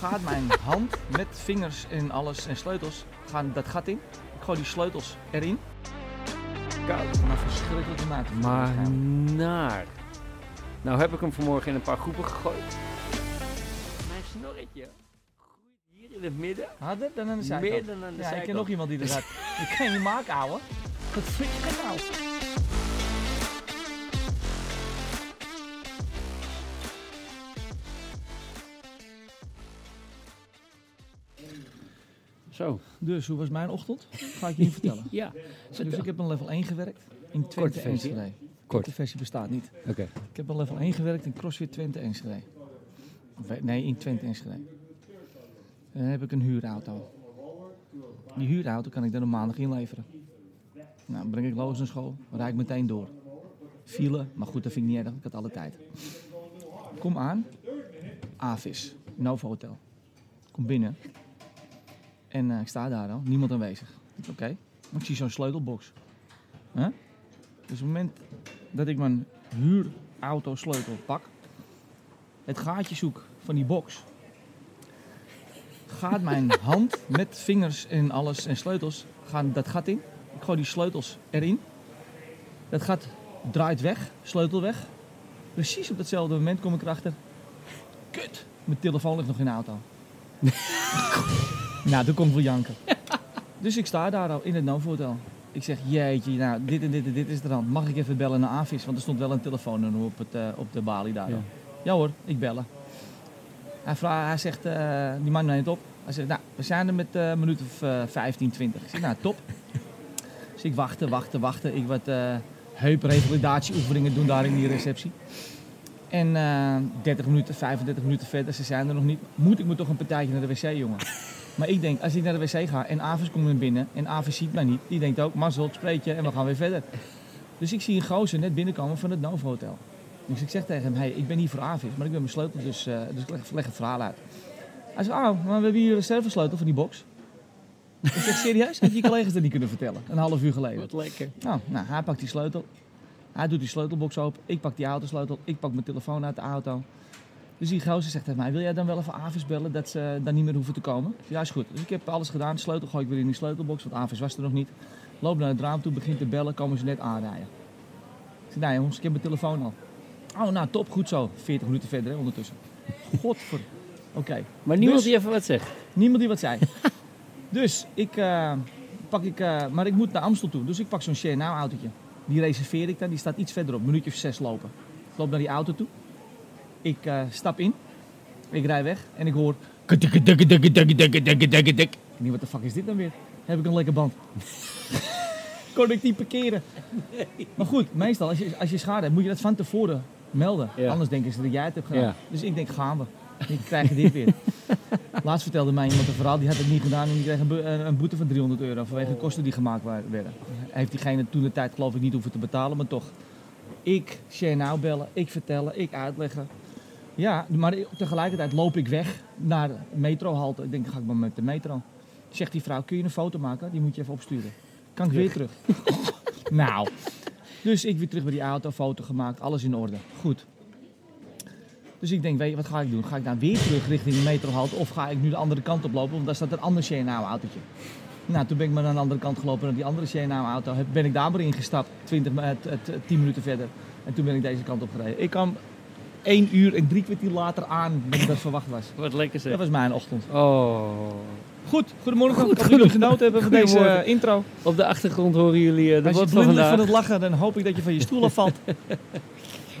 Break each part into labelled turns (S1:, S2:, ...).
S1: gaat mijn hand met vingers en alles en sleutels, gaan dat gat in. Ik gooi die sleutels erin. Koud, maar verschrikkelijk gemaakt.
S2: Maar naar. Nou heb ik hem vanmorgen in een paar groepen gegooid. Mijn snorretje groeit hier in het midden.
S1: Harder dan aan de zijkant.
S2: Meer dan aan
S1: ja, ik
S2: de
S1: ken
S2: zijkant.
S1: nog iemand die dat had. Ik kan je maken, ouwe. Dat frik je nou.
S2: Zo,
S1: Dus, hoe was mijn ochtend? Ga ik je niet vertellen.
S2: ja.
S1: Dus ik heb een level 1 gewerkt in Twente
S2: Korte
S1: en
S2: versie.
S1: Enschede.
S2: Kort,
S1: De versie bestaat niet.
S2: oké.
S1: Ik heb al level 1 gewerkt in CrossFit Twente Enschede. Of, eh, Nee, in Twente Enschede. En dan heb ik een huurauto. Die huurauto kan ik dan op maandag inleveren. Nou, dan breng ik Loos naar school, rijd ik meteen door. File, maar goed, dat vind ik niet erg, ik had alle tijd. Kom aan, Avis, Novo Hotel. Kom binnen. En eh, ik sta daar al, niemand aanwezig. Ik denk, Oké, want ik zie zo'n sleutelbox. Huh? Dus op het moment dat ik mijn huurautosleutel pak, het gaatje zoek van die box, gaat mijn hand met vingers en alles en sleutels, gaan dat gat in. Ik gooi die sleutels erin. Dat gat draait weg, sleutel weg. Precies op datzelfde moment kom ik erachter. Kut, mijn telefoon ligt nog in de auto. nou, toen kom ik wel janken. Dus ik sta daar al in het Novotel. Ik zeg, jeetje, nou, dit en dit en dit is er aan. Mag ik even bellen naar Avis? Want er stond wel een telefoonnummer op, het, eh, op de balie daar.
S2: Ja.
S1: Ja. hoor, ik bellen. Hij, vraagt, hij zegt, eh, die man neemt op. Hij zegt, nou, we zijn er met eh, een minuut of eh 15, 20. Ik zeg, nou, top. Dus ik wachten, wachten, wachten. Ik wat eh heuprevalidatieoefeningen doen daar in die receptie. En eh, 30 minuten, 35 minuten verder, ze zijn er nog niet. Moet ik me toch een partijtje naar de wc, jongen? Maar ik denk, als ik naar de wc ga en Avis komt er binnen en Avis ziet mij niet, die denkt ook, mazzel, ik spreek je en we gaan weer verder. Dus ik zie een gozer net binnenkomen van het Novo Hotel. Dus ik zeg tegen hem, hey, ik ben hier voor Avis, maar ik ben mijn sleutel, dus, eh, dus ik leg, leg het verhaal uit. Hij zegt, ah, maar we hebben hier een reservesleutel van die box. ik zeg, serieus? Had je je collega's dat niet kunnen vertellen? Een half uur geleden.
S2: Wat lekker.
S1: Nou, nou, hij pakt die sleutel. Hij doet die sleutelbox open. Ik pak die autosleutel. Ik pak mijn telefoon uit de auto. Dus die gozer zegt tegen mij, wil jij dan wel even Avis bellen dat ze daar niet meer hoeven te komen? Ik zeg, Ja, is goed. Dus ik heb alles gedaan. De sleutel gooi ik weer in die sleutelbox, want Avis was er nog niet. Loop naar het raam toe, begint te bellen, komen ze net aanrijden. Ik zeg, nee jongens, ik heb mijn telefoon al. Oh, nou top, goed zo. 40 minuten verder hè, ondertussen. Godver. Oké.
S2: Maar niemand
S1: Dus-
S2: die even wat zegt.
S1: Niemand die wat zei. dus ik eh, pak ik, eh, maar ik moet naar Amstel toe. Dus ik pak zo'n Share Now autootje. Die reserveer ik dan. Die staat iets verderop, een minuutje of zes lopen. Ik loop naar die auto toe. Ik eh, stap in. Ik rij weg en ik hoor.
S2: Kutikketikketikketikketikketikketik.
S1: Ik denk, wat de fuck is dit dan weer? Heb ik een lekker band? Kon ik die parkeren? Maar goed, meestal als je, als je schade hebt, moet je dat van tevoren melden.
S2: Ja.
S1: Anders denken ze dat jij het hebt gedaan.
S2: Ja.
S1: Dus ik denk, gaan we. Ik krijg dit weer. Laatst vertelde mij iemand een verhaal, die had het niet gedaan en die kreeg een, be- een- een boete van 300 euro vanwege de kosten die gemaakt wa- werden. Heeft diegene toen de tijd geloof ik niet hoeven te betalen, maar toch. Ik share nou bellen, ik vertellen, ik uitleggen. Ja, maar tegelijkertijd loop ik weg naar de metrohalte. Ik denk, ga ik maar met de metro. Zegt die vrouw, kun je een foto maken? Die moet je even opsturen. Kan ik weer terug? nou. Dus ik weer terug bij die auto, foto gemaakt, alles in orde. Goed. Dus ik denk, weet je, wat ga ik doen? Ga ik nou weer terug richting de metrohalte of ga ik nu de andere kant op lopen? Want daar staat een ander CNA-autootje. Nou, toen ben ik maar aan de andere kant gelopen naar die andere CNA-auto. Ben ik daar maar ingestapt, 20, mi- eh, t- eh, t- 10 minuten verder. En toen ben ik deze kant op gereden. Ik kwam 1 uur en drie kwartier later aan dan dat verwacht was.
S2: Wat lekker
S1: Dat
S2: zeg.
S1: was mijn ochtend.
S2: Oh.
S1: Goed, goedemorgen. Goed, ik hoop dat jullie genoten hebben van deze
S2: Goedemorgen.
S1: eh, intro.
S2: Op de achtergrond horen jullie eh, de
S1: Als je
S2: wat van
S1: blind ligt van
S2: vandaag.
S1: het lachen, dan hoop ik dat je van je stoel afvalt.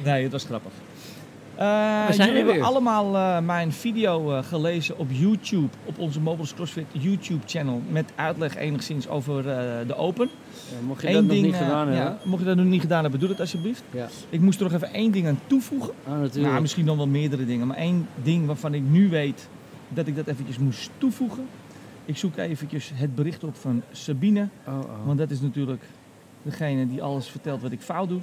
S1: nee, het was grappig. Eh
S2: We zijn er
S1: jullie hebben
S2: weer.
S1: allemaal eh, mijn video eh, gelezen op YouTube, op onze Mobiles CrossFit YouTube-channel, met uitleg enigszins over eh, de Open.
S2: Ja, mocht je dat nog niet
S1: eh,
S2: gedaan
S1: ja,
S2: hebben.
S1: mocht je dat nog niet gedaan hebben, doe dat alsjeblieft.
S2: Ja.
S1: Ik moest er nog even één ding aan toevoegen.
S2: Ah,
S1: Nou,
S2: natuurlijk.
S1: misschien dan wel meerdere dingen, maar één ding waarvan ik nu weet dat ik dat eventjes moest toevoegen. Ik zoek eventjes het bericht op van Sabine,
S2: Oh, oh.
S1: want dat is natuurlijk degene die alles vertelt wat ik fout doe.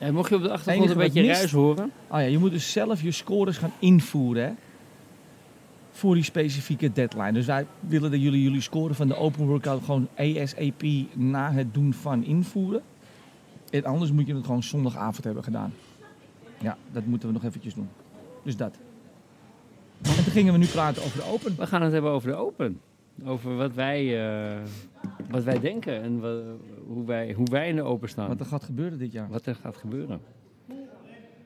S2: Ja, mocht je op de achtergrond
S1: enige
S2: een
S1: wat
S2: beetje
S1: mist-
S2: ruis horen.
S1: Oh ja, je moet dus zelf je scores gaan invoeren hè, voor die specifieke deadline. Dus wij willen dat jullie jullie score van de open workout gewoon ASAP na het doen van invoeren. En anders moet je het gewoon zondagavond hebben gedaan. Ja, dat moeten we nog eventjes doen. Dus dat. En toen gingen we nu praten over de Open.
S2: We gaan het hebben over de Open. Over wat wij, eh, wat wij denken en wa- hoe, wij, hoe wij in de Open staan.
S1: Wat er gaat gebeuren dit jaar.
S2: Wat er gaat gebeuren.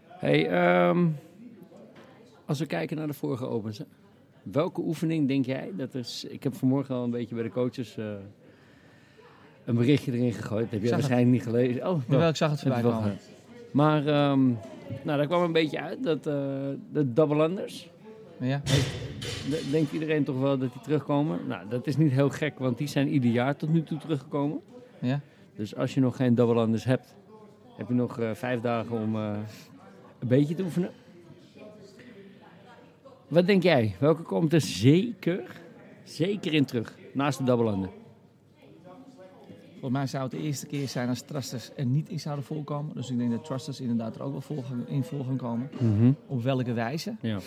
S2: Hey, ehm, als we kijken naar de vorige Opens. hè. Welke oefening denk jij dat er... s- Ik heb vanmorgen al een beetje bij de coaches eh, een berichtje erin gegooid. Dat heb je
S1: Zag het.
S2: waarschijnlijk niet gelezen. Oh,
S1: Jawel, ik zag het voorbij
S2: Heb je wel
S1: komen.
S2: gehad. Maar ehm, nou, daar kwam een beetje uit dat eh, de double unders.
S1: Ja.
S2: d- Denkt iedereen toch wel dat die terugkomen? Nou, dat is niet heel gek, want die zijn ieder jaar tot nu toe teruggekomen.
S1: Ja.
S2: Dus als je nog geen double unders hebt, heb je nog eh, vijf dagen om eh, een beetje te oefenen. Wat denk jij? Welke komt er zeker, zeker in terug? Naast de double under.
S1: Volgens mij zou het de eerste keer zijn als trusters er niet in zouden voorkomen. Dus ik denk dat trusters inderdaad er ook wel voor gaan- in voor gaan komen.
S2: Mhm.
S1: Op welke wijze?
S2: Ja.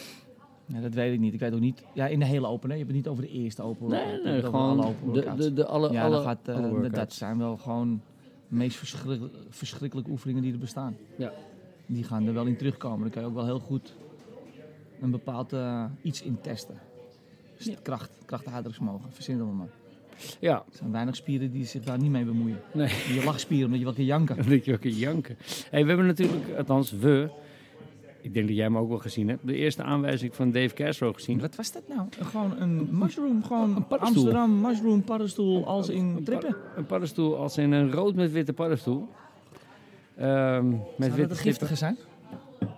S1: Ja, dat weet ik niet. Ik weet ook niet. Ja, in de hele Open. Hè? Je hebt het niet over de eerste Open.
S2: Nee,
S1: Dat
S2: nee,
S1: we alle
S2: gewoon
S1: open
S2: de,
S1: workouts.
S2: de, de alle,
S1: ja,
S2: alle,
S1: dat, gaat, eh,
S2: alle
S1: dat-
S2: workouts.
S1: dat zijn wel gewoon de meest verschrik- verschrikkelijke oefeningen die er bestaan.
S2: Ja.
S1: Die gaan er wel in terugkomen. Daar kan je ook wel heel goed een bepaald eh, iets in testen. Dus
S2: Ja.
S1: kracht, krachthoudingsvermogen, verzin het allemaal maar.
S2: Ja,
S1: Er zijn weinig spieren die zich daar niet mee bemoeien.
S2: Nee.
S1: Je lachspieren, omdat je wel kan janken.
S2: dat je ook in janken. Hey, we hebben natuurlijk, althans we, ik denk dat jij hem ook wel gezien hebt, de eerste aanwijzing van Dave Castro gezien.
S1: Wat was dat nou? Gewoon een mushroom, gewoon
S2: Een paddenstoel.
S1: Amsterdam mushroom paddenstoel als in
S2: Een pad-
S1: trippen.
S2: Een paddenstoel als in een rood met witte paddenstoel. Ehm met
S1: Zou dat
S2: witte
S1: een
S2: giftige.
S1: giftige zijn?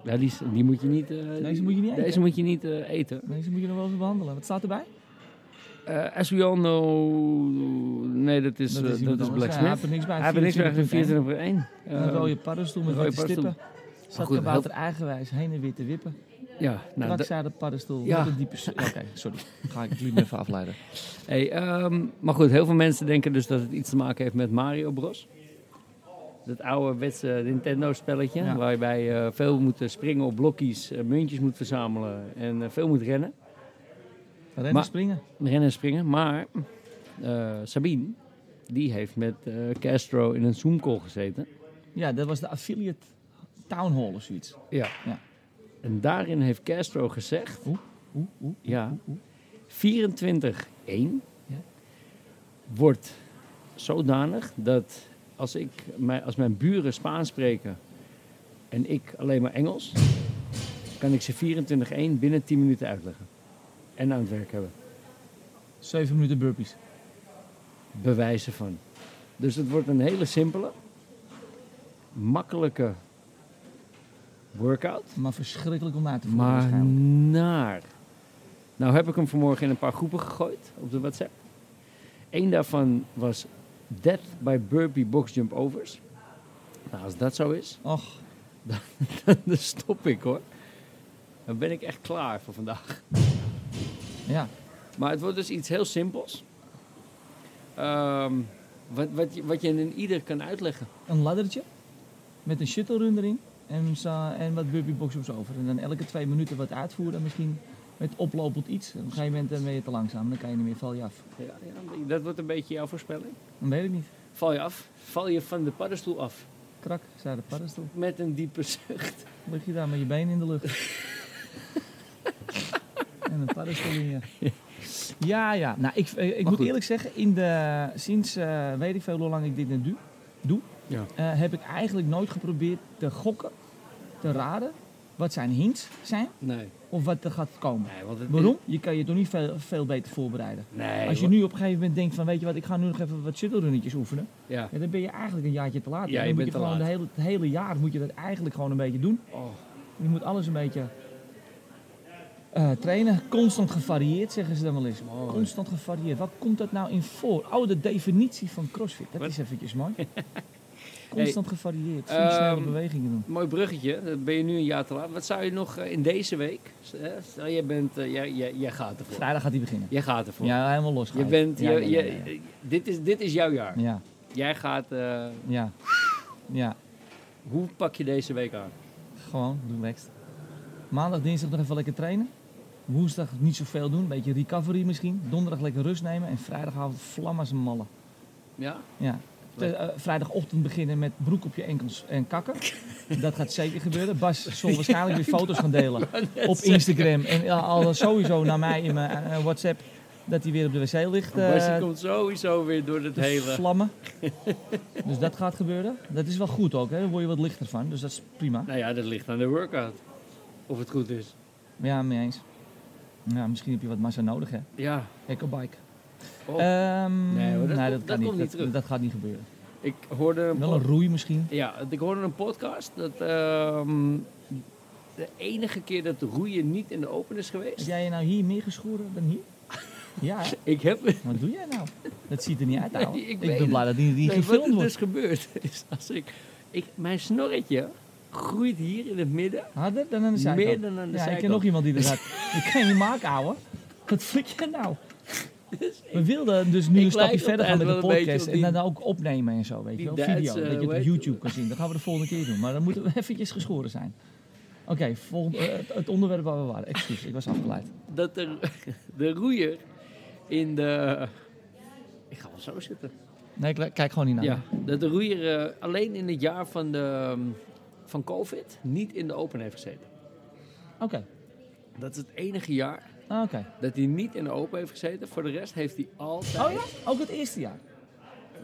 S2: Ja, die, is- die moet je niet, eh,
S1: Deze moet je niet
S2: deze
S1: eten.
S2: moet je niet eh, eten.
S1: Deze moet je nog wel even behandelen. Wat staat erbij?
S2: Eh, as we all know, nee, dat is, eh, dat is,
S1: iemand anders.
S2: Black
S1: Ja,
S2: Smith.
S1: Hij heeft er niks bij.
S2: Hij heeft er niks meer
S1: 24.1.
S2: 24 op 1.
S1: Een
S2: Ehm,
S1: rode paddenstoel met
S2: een rode
S1: witte stippen. Zat
S2: goed,
S1: kabouter eigenwijs, heen en weer te wippen.
S2: ja, nou, dat-
S1: Lakzade paddenstoel,
S2: Ja.
S1: ja. een diepe... su- Oké, sorry. Ga ik het liever even afleiden.
S2: Hey, ehm, maar goed, heel veel mensen denken dus dat het iets te maken heeft met Mario Bros. Dat ouderwetse Nintendo-spelletje,
S1: Ja.
S2: waarbij je veel moet eh, springen op blokjes, eh, muntjes moet verzamelen en eh, veel moet rennen.
S1: Rennen,
S2: Maar-
S1: springen.
S2: Rennen en springen. Maar eh, Sabine, die heeft met eh, Castro in een Zoom-call gezeten.
S1: Ja, dat was de affiliate town hall of zoiets.
S2: Ja.
S1: Ja.
S2: En daarin heeft Castro gezegd,
S1: Oeh, oeh.
S2: ja,
S1: oeh.
S2: 24-1
S1: Ja.
S2: wordt zodanig dat als, ik, mijn, als mijn buren Spaans spreken en ik alleen maar Engels, kan ik ze 24-1 binnen 10 minuten uitleggen. En aan het werk hebben.
S1: Zeven minuten burpees.
S2: bewijzen van. Dus het wordt een hele simpele, makkelijke workout,
S1: Maar verschrikkelijk om na te voeren
S2: maar
S1: waarschijnlijk.
S2: naar. Nou heb ik hem vanmorgen in een paar groepen gegooid op de WhatsApp. Eén daarvan was Death by Burpee Box Jump Overs. Nou, als dat zo is,
S1: Och,
S2: dan stop ik hoor. Dan ben ik echt klaar voor vandaag.
S1: ja.
S2: Maar het wordt dus iets heel simpels. Ehm, wat, wat, je, wat je in ieder kan uitleggen.
S1: Een laddertje met een shuttle run erin en, zo- en wat burpee box-ups over. En dan elke twee minuten wat uitvoeren misschien met oplopend iets. En op een gegeven moment eh, ben je te langzaam, dan kan je niet meer, val je af.
S2: Ja, ja, dat wordt een beetje jouw voorspelling.
S1: Dan weet ik niet.
S2: Val je af? Val je van de paddenstoel af?
S1: Krak, zei de paddenstoel.
S2: Met een diepe zucht.
S1: Lig je daar met je benen in de lucht. en een paddenstoel in je. Ja, ja. Nou, ik, eh, ik moet
S2: goed.
S1: eerlijk zeggen, in de, sinds eh, weet ik veel hoe lang ik dit nu doe, doe
S2: Ja.
S1: eh, heb ik eigenlijk nooit geprobeerd te gokken, te raden, wat zijn hints zijn
S2: Nee.
S1: of wat er gaat komen.
S2: nee want het
S1: Waarom? Je kan je toch niet veel, veel beter voorbereiden.
S2: Eh. Nee.
S1: Als je nu op een gegeven moment denkt van, weet je wat, ik ga nu nog even wat shuttle-runnetjes oefenen.
S2: Ja.
S1: Ja, dan ben je eigenlijk een jaartje te laat.
S2: Ja,
S1: dan
S2: je
S1: moet
S2: bent
S1: je
S2: te
S1: gewoon
S2: laat.
S1: de hele, het hele jaar moet je dat eigenlijk gewoon een beetje doen.
S2: Oh.
S1: Je moet alles een beetje eh, trainen. Constant gevarieerd, zeggen ze dan wel eens.
S2: Mooi.
S1: Constant gevarieerd. Wat komt dat nou in voor? Oh, de definitie van CrossFit. Dat
S2: Wat?
S1: is eventjes mooi. Constant gevarieerd. Veel
S2: ehm,
S1: snelle bewegingen doen.
S2: Mooi bruggetje. Dan ben je nu een jaar te laat. Wat zou je nog eh, in deze week... eh, Stel, jij, bent, eh, jij, jij, jij gaat ervoor.
S1: Vrijdag gaat hij beginnen.
S2: Jij gaat ervoor.
S1: Ja, helemaal los.
S2: Je bent...
S1: Ja,
S2: je-
S1: ja, ja,
S2: je-
S1: ja.
S2: Dit, is, dit is jouw jaar.
S1: Ja,
S2: Jij gaat... eh,
S1: ja. Ja,
S2: hoe pak je deze week aan?
S1: gewoon relaxed. Maandag, dinsdag nog even lekker trainen. Woensdag niet zoveel doen. Een beetje recovery misschien. Donderdag lekker rust nemen. En vrijdagavond vlam als een malle.
S2: Ja?
S1: Ja,
S2: Wat
S1: eh, eh, vrijdagochtend beginnen met broek op je enkels en kakken. Dat gaat zeker gebeuren. Bas zal waarschijnlijk weer foto's gaan delen op Instagram. En ja, al sowieso naar mij in mijn eh, WhatsApp dat hij weer op de wc ligt. eh,
S2: Basje komt sowieso weer door het
S1: te
S2: hele...
S1: vlammen. dus dat gaat gebeuren. Dat is wel goed ook, hè? daar word je wat lichter van. Dus dat is prima.
S2: Nou ja, dat ligt aan de workout. Of het goed is.
S1: Ja, mee eens. Ja, misschien heb je wat massa nodig, hè?
S2: Ja.
S1: Ecobike.
S2: Oh.
S1: Ehm,
S2: Nee, hoor, dat komt- dat
S1: kan
S2: komt niet
S1: Dat-
S2: terug.
S1: dat gaat niet gebeuren.
S2: Ik hoorde een,
S1: Wel een
S2: pod-
S1: roei misschien.
S2: ja, ik hoorde een podcast dat ehm, de enige keer dat de roeien niet in de open is
S1: Heb
S2: geweest.
S1: jij je nou hier meer geschoren dan hier? Ja, hè?
S2: Ik heb
S1: wat doe jij nou? Dat ziet er niet uit, ouwe.
S2: Nee, ik
S1: ik
S2: weet
S1: ben blij dat die, die
S2: nee, wat
S1: gefilmd
S2: er
S1: wordt.
S2: dus gebeurd is als ik, ik mijn snorretje groeit hier in het midden
S1: Harder Ah, dan aan de zijkant.
S2: meer dan aan
S1: ja, ik
S2: de
S1: ken
S2: zijkant.
S1: nog iemand die dat had. Dat kan je niet maken, ouwe. Wat flik je nou? We wilden dus nu
S2: ik
S1: een stapje
S2: lijk
S1: verder gaan met de
S2: altijd wel een
S1: podcast.
S2: beetje op
S1: en
S2: die-
S1: dan ook opnemen en zo, weet je
S2: die
S1: wel.
S2: Duitse,
S1: Video, dat je het
S2: weet
S1: op
S2: je-
S1: YouTube kan zien. Dat gaan we de volgende keer doen. Maar dan moeten we eventjes geschoren zijn. Oké, volgende- eh, het- het onderwerp waar we waren. Excuus, ik was afgeleid.
S2: dat er, de roeier in de... Ik ga wel zo zitten.
S1: Nee, ik kijk gewoon niet naar.
S2: Ja, dat de roeier eh, alleen in het jaar van, de, ehm, van COVID niet in de open heeft gezeten.
S1: Oké,
S2: Dat is het enige jaar
S1: ah, oké.
S2: dat hij niet in de open heeft gezeten. Voor de rest heeft hij altijd...
S1: Oh ja, ook het eerste jaar.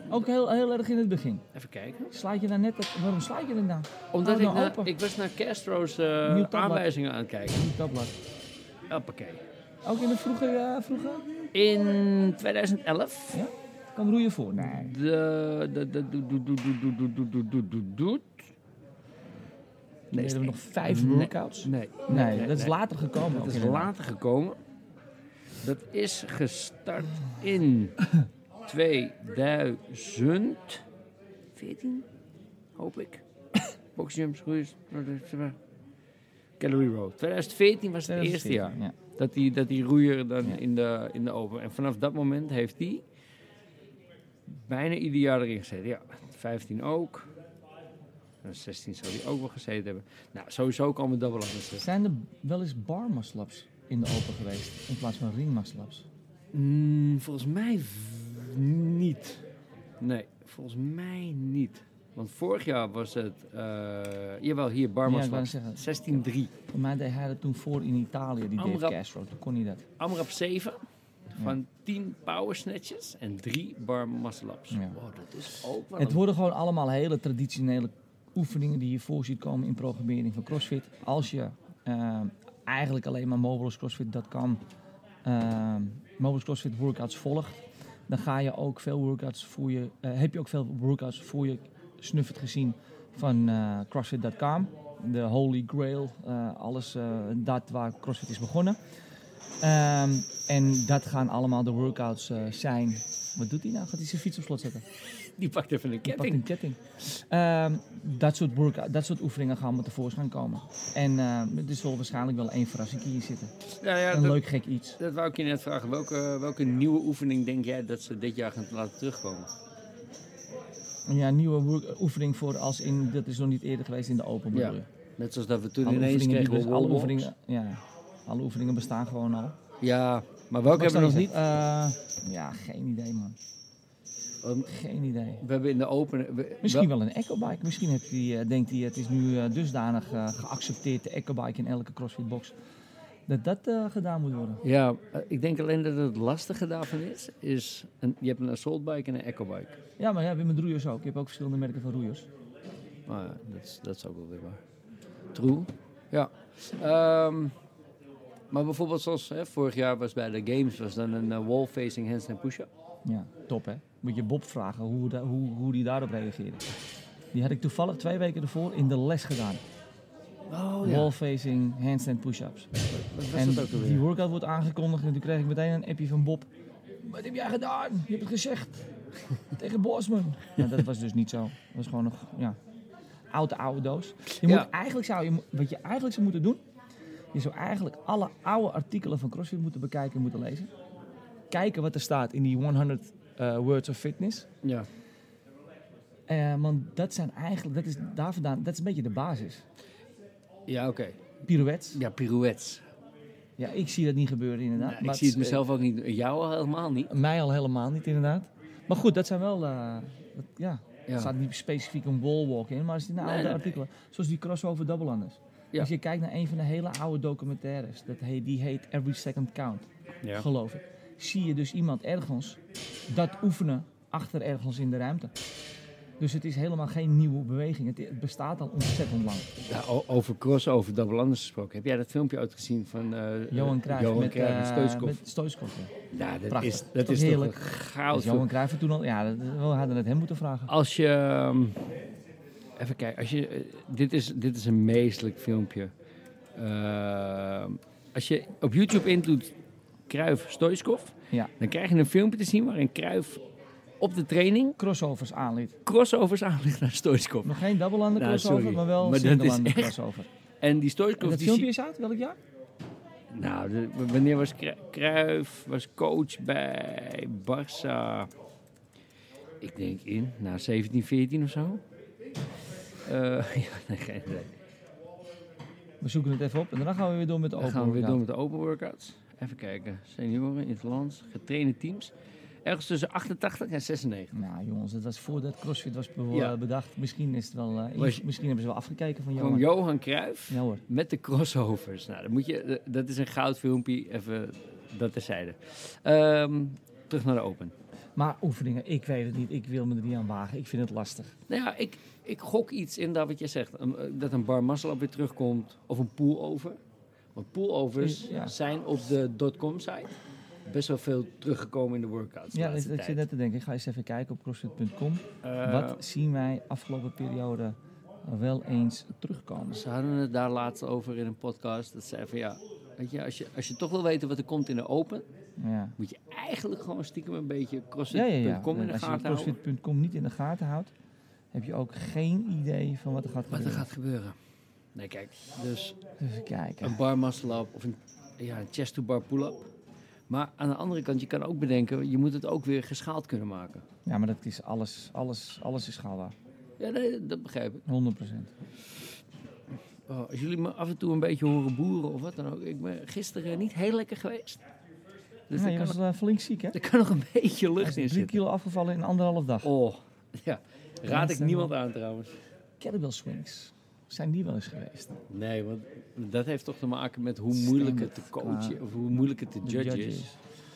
S1: Ook heel, heel erg in het begin.
S2: Even kijken.
S1: Slaat je daar net dat, waarom slaat je dat nou?
S2: Omdat
S1: Oh,
S2: ik,
S1: nou,
S2: na-
S1: open.
S2: ik was naar Castro's eh,
S1: Nieuw tabblad.
S2: aanwijzingen aan het kijken.
S1: Niet dat blad.
S2: Hoppakee.
S1: Ook in de vroege, eh, vroege?
S2: In 2011
S1: Ja? Kan roeien voor? Nee.
S2: de, de, de, doet, doet, doet, doet, doet, doet, doet, doet, doet, doet, doet.
S1: Nee,
S2: is
S1: hebben we nog vijf
S2: Nee.
S1: workouts? Nee,
S2: Nee,
S1: dat is
S2: nee.
S1: later gekomen.
S2: Dat
S1: ook
S2: is
S1: inderdaad.
S2: later gekomen. Dat is gestart in 2014, hoop ik. Boxjumps, roeiers, Calorie Road. 2014 was het eerste jaar
S1: 2014, Ja.
S2: dat die, dat die roeier dan
S1: Ja.
S2: in, de, in de open. En vanaf dat moment heeft die bijna ieder jaar erin gezeten. Ja, 15 ook. En 16 zou die ook wel gezeten hebben. Nou, sowieso komen dubbelangers terug.
S1: Zijn er wel eens barmaslaps in de open geweest in plaats van ringmaslaps?
S2: Mm, volgens mij v- niet. Nee, volgens mij niet. Want vorig jaar was het, eh jawel, hier
S1: Ja, ik wou
S2: Barmas
S1: zeggen.
S2: 16-3.
S1: Voor mij deed hij dat toen voor in Italië, die Dave
S2: Amrap.
S1: Castro. Toen kon hij dat.
S2: Amrap 7 van 10 power snatches en 3 bar muscle ups.
S1: Ja.
S2: Wow, Oh, dat is ook wel
S1: Het
S2: een-
S1: worden gewoon allemaal hele traditionele oefeningen die je voor ziet komen in programmering van CrossFit. Als je ehm, eigenlijk alleen maar Mobilis CrossFit dat kan, ehm, Mobilis CrossFit workouts volgt, dan ga je ook veel workouts voor je, eh, heb je ook veel workouts voor je snuffert gezien van eh, CrossFit.com. De Holy Grail, eh, alles eh, dat waar CrossFit is begonnen. Ehm, en dat gaan allemaal de workouts eh, zijn. Wat doet hij nou? Gaat hij zijn fiets op slot zetten?
S2: Die pakt even een
S1: Je pakt
S2: ketting.
S1: een ketting. Ehm, dat, soort workout, dat soort oefeningen gaan allemaal tevoorschijn komen. En ehm er zal waarschijnlijk wel één verrassing in zitten.
S2: Nou ja,
S1: een
S2: dat,
S1: leuk gek iets.
S2: dat wou ik je net vragen. Welke, welke nieuwe oefening denk jij dat ze dit jaar gaan laten terugkomen?
S1: En Ja, een nieuwe work- oefening voor als in, dat is nog niet eerder geweest in de open bedoel
S2: Ja,
S1: je.
S2: Net zoals dat we toen
S1: Alle
S2: ineens
S1: oefeningen,
S2: kregen
S1: die
S2: we
S1: bes- alle,
S2: wall
S1: oefeningen, ja, alle oefeningen bestaan gewoon al.
S2: walks. Ja, maar welke hebben we nog niet?
S1: Eh, ja, geen idee man.
S2: Want
S1: Geen idee.
S2: We hebben in de open... we-
S1: Misschien wel een ecobike. Misschien heeft die, eh, denkt hij, het is nu eh, dusdanig eh, geaccepteerd, de ecobike in elke crossfitbox. Dat dat eh, gedaan moet worden.
S2: Ja, eh, ik denk alleen dat het lastige daarvan is, is een, je hebt een assaultbike en een ecobike.
S1: Ja, maar ja, Wim met roeiers ook. Je hebt ook verschillende merken van roeiers.
S2: Maar ja, dat is, dat is ook wel weer waar. True. Ja. Ehm, maar bijvoorbeeld zoals hè, vorig jaar was bij de Games, was dan een eh, wall-facing handstand push-up.
S1: Ja, top hè. Moet je Bob vragen hoe, da- hoe, hoe die daarop reageerde. Die had ik toevallig twee weken ervoor in de les gedaan.
S2: Oh
S1: Wallfacing, handstand push-ups.
S2: Wat was
S1: En
S2: dat ook
S1: die
S2: alweer?
S1: workout wordt aangekondigd en toen kreeg ik meteen een appje van Bob. Wat heb jij gedaan? Je hebt het gezegd. Tegen Bosman. Nou, dat was dus niet zo. Dat was gewoon nog, ja, oude oude doos. Je
S2: Ja.
S1: moet eigenlijk zou, je, moet- wat je eigenlijk zou moeten doen, je zou eigenlijk alle oude artikelen van CrossFit moeten bekijken en moeten lezen. Kijken wat er staat in die 100 eh, Words of Fitness.
S2: Ja.
S1: Eh, want dat zijn eigenlijk, dat is daar vandaan, dat is een beetje de basis.
S2: Ja, oké.
S1: Pirouettes.
S2: Ja, pirouettes.
S1: Ja, ik zie dat niet gebeuren inderdaad.
S2: Nou, ik
S1: maar
S2: zie het
S1: is- eh,
S2: mezelf ook niet, jou al helemaal niet.
S1: Mij al helemaal niet, inderdaad. Maar goed, dat zijn wel... eh, dat- ja,
S2: Ja.
S1: er staat niet specifiek een wallwalk in, maar het is in oude
S2: Nee, nee,
S1: artikelen. Zoals die crossover dubbelhanders.
S2: Ja.
S1: Als je kijkt naar een van de hele oude documentaires, dat heet, die heet Every Second Count,
S2: Ja.
S1: geloof ik. Zie je dus iemand ergens dat oefenen achter ergens in de ruimte. Dus het is helemaal geen nieuwe beweging. Het, het bestaat al ontzettend lang.
S2: Ja, o- over crossover double anders gesproken. Heb jij dat filmpje uitgezien van eh,
S1: Johan Cruijff
S2: Johan
S1: met,
S2: Cruijff en
S1: eh,
S2: Stoichkov?
S1: met Stoichkov, ja.
S2: Ja, dat
S1: Prachtig.
S2: is,
S1: Dat
S2: dat
S1: was
S2: is toch een
S1: heerlijk.
S2: goud.
S1: Dus Johan Cruijff had toen al... Ja, dat- we hadden het hem moeten vragen.
S2: Als je. ehm, even kijken, als je, eh, dit, is, dit is een meestelijk filmpje. Ehm, als je op YouTube indoet Kruif Stoiskov,
S1: Ja.
S2: dan krijg je een filmpje te zien waarin Kruif op de training
S1: Crossovers aanliet.
S2: crossovers aanlegt naar Stoiskov.
S1: Nog geen dubbelhanden
S2: Nou,
S1: crossover,
S2: sorry.
S1: maar wel
S2: Maar dat is
S1: singlelanden
S2: echt-
S1: crossover.
S2: En die
S1: En
S2: Stoiskov.
S1: dat
S2: die
S1: filmpje
S2: zie-
S1: is uit, welk jaar?
S2: nou, de- w- wanneer was Kruif was coach bij Barça? Ik denk in, na 17, 14 of zo. Eh, ja, nee, geen idee.
S1: We zoeken het even op en daarna gaan we weer door met de
S2: Dan
S1: open.
S2: gaan we weer door
S1: workout.
S2: met de open workouts. Even kijken. Senioren, in het land, getrainde teams. Ergens tussen 88 en 96.
S1: Nou jongens, dat was voordat CrossFit was be-
S2: Ja.
S1: eh, bedacht. Misschien, is het wel, eh,
S2: Was-
S1: misschien hebben ze wel afgekeken van
S2: Gewoon
S1: Johan.
S2: Johan Cruijff
S1: Ja hoor.
S2: met de crossovers. Nou, dat, moet je, dat is een goud filmpje. Even dat terzijde. Ehm terug naar de open.
S1: Maar oefeningen, ik weet het niet. Ik wil me er niet aan wagen. Ik vind het lastig.
S2: Nou ja, ik, ik gok iets in dat wat je zegt. Een- eh, dat een bar muscle up weer terugkomt. Of een pullover. Want pullovers
S1: Is- ja.
S2: zijn op de dotcom site best wel veel teruggekomen in de workouts. de
S1: Ja, ik,
S2: laatste
S1: ik zit
S2: tijd.
S1: net te denken. Ik ga eens even kijken op crossfit.com.
S2: Eh,
S1: Wat zien wij afgelopen periode wel eens terugkomen?
S2: Ze hadden het daar laatst over in een podcast. Dat zei van ja, weet je, als je, als je toch wil weten wat er komt in de open,
S1: Ja.
S2: moet je eigenlijk gewoon stiekem een beetje
S1: Ja, ja, ja.
S2: crossfit.com in de
S1: Als je
S2: gaten houden.
S1: crossfit.com niet in de gaten houdt, heb je ook geen idee van wat er gaat
S2: Wat er
S1: gebeuren.
S2: gaat gebeuren. Nee, kijk, dus
S1: Even kijken.
S2: een bar muscle up of een, ja, een chest to bar pull up. Maar aan de andere kant, je kan ook bedenken, je moet het ook weer geschaald kunnen maken.
S1: Ja, maar dat is alles, alles, alles is schaalbaar. 100%.
S2: Ja, nee, dat begrijp ik. Dus Oh, als jullie me af en toe een beetje horen boeren of wat dan ook. Ik ben gisteren niet heel lekker geweest. Dus
S1: ja,
S2: daar
S1: je
S2: kan,
S1: was
S2: nog-
S1: eh, flink ziek, hè?
S2: daar kan nog een beetje
S1: Hij
S2: lucht
S1: is
S2: in
S1: drie
S2: zitten.
S1: kilo afgevallen in anderhalf dag.
S2: Oh, ja. Raad ik
S1: stemmen.
S2: niemand aan trouwens.
S1: Kettlebell swings. Zijn die wel eens geweest?
S2: Nee, want dat heeft toch te maken met hoe moeilijk het te
S1: Standaard
S2: coachen
S1: qua-
S2: of hoe moeilijk het te
S1: De
S2: judgen
S1: judges.
S2: is.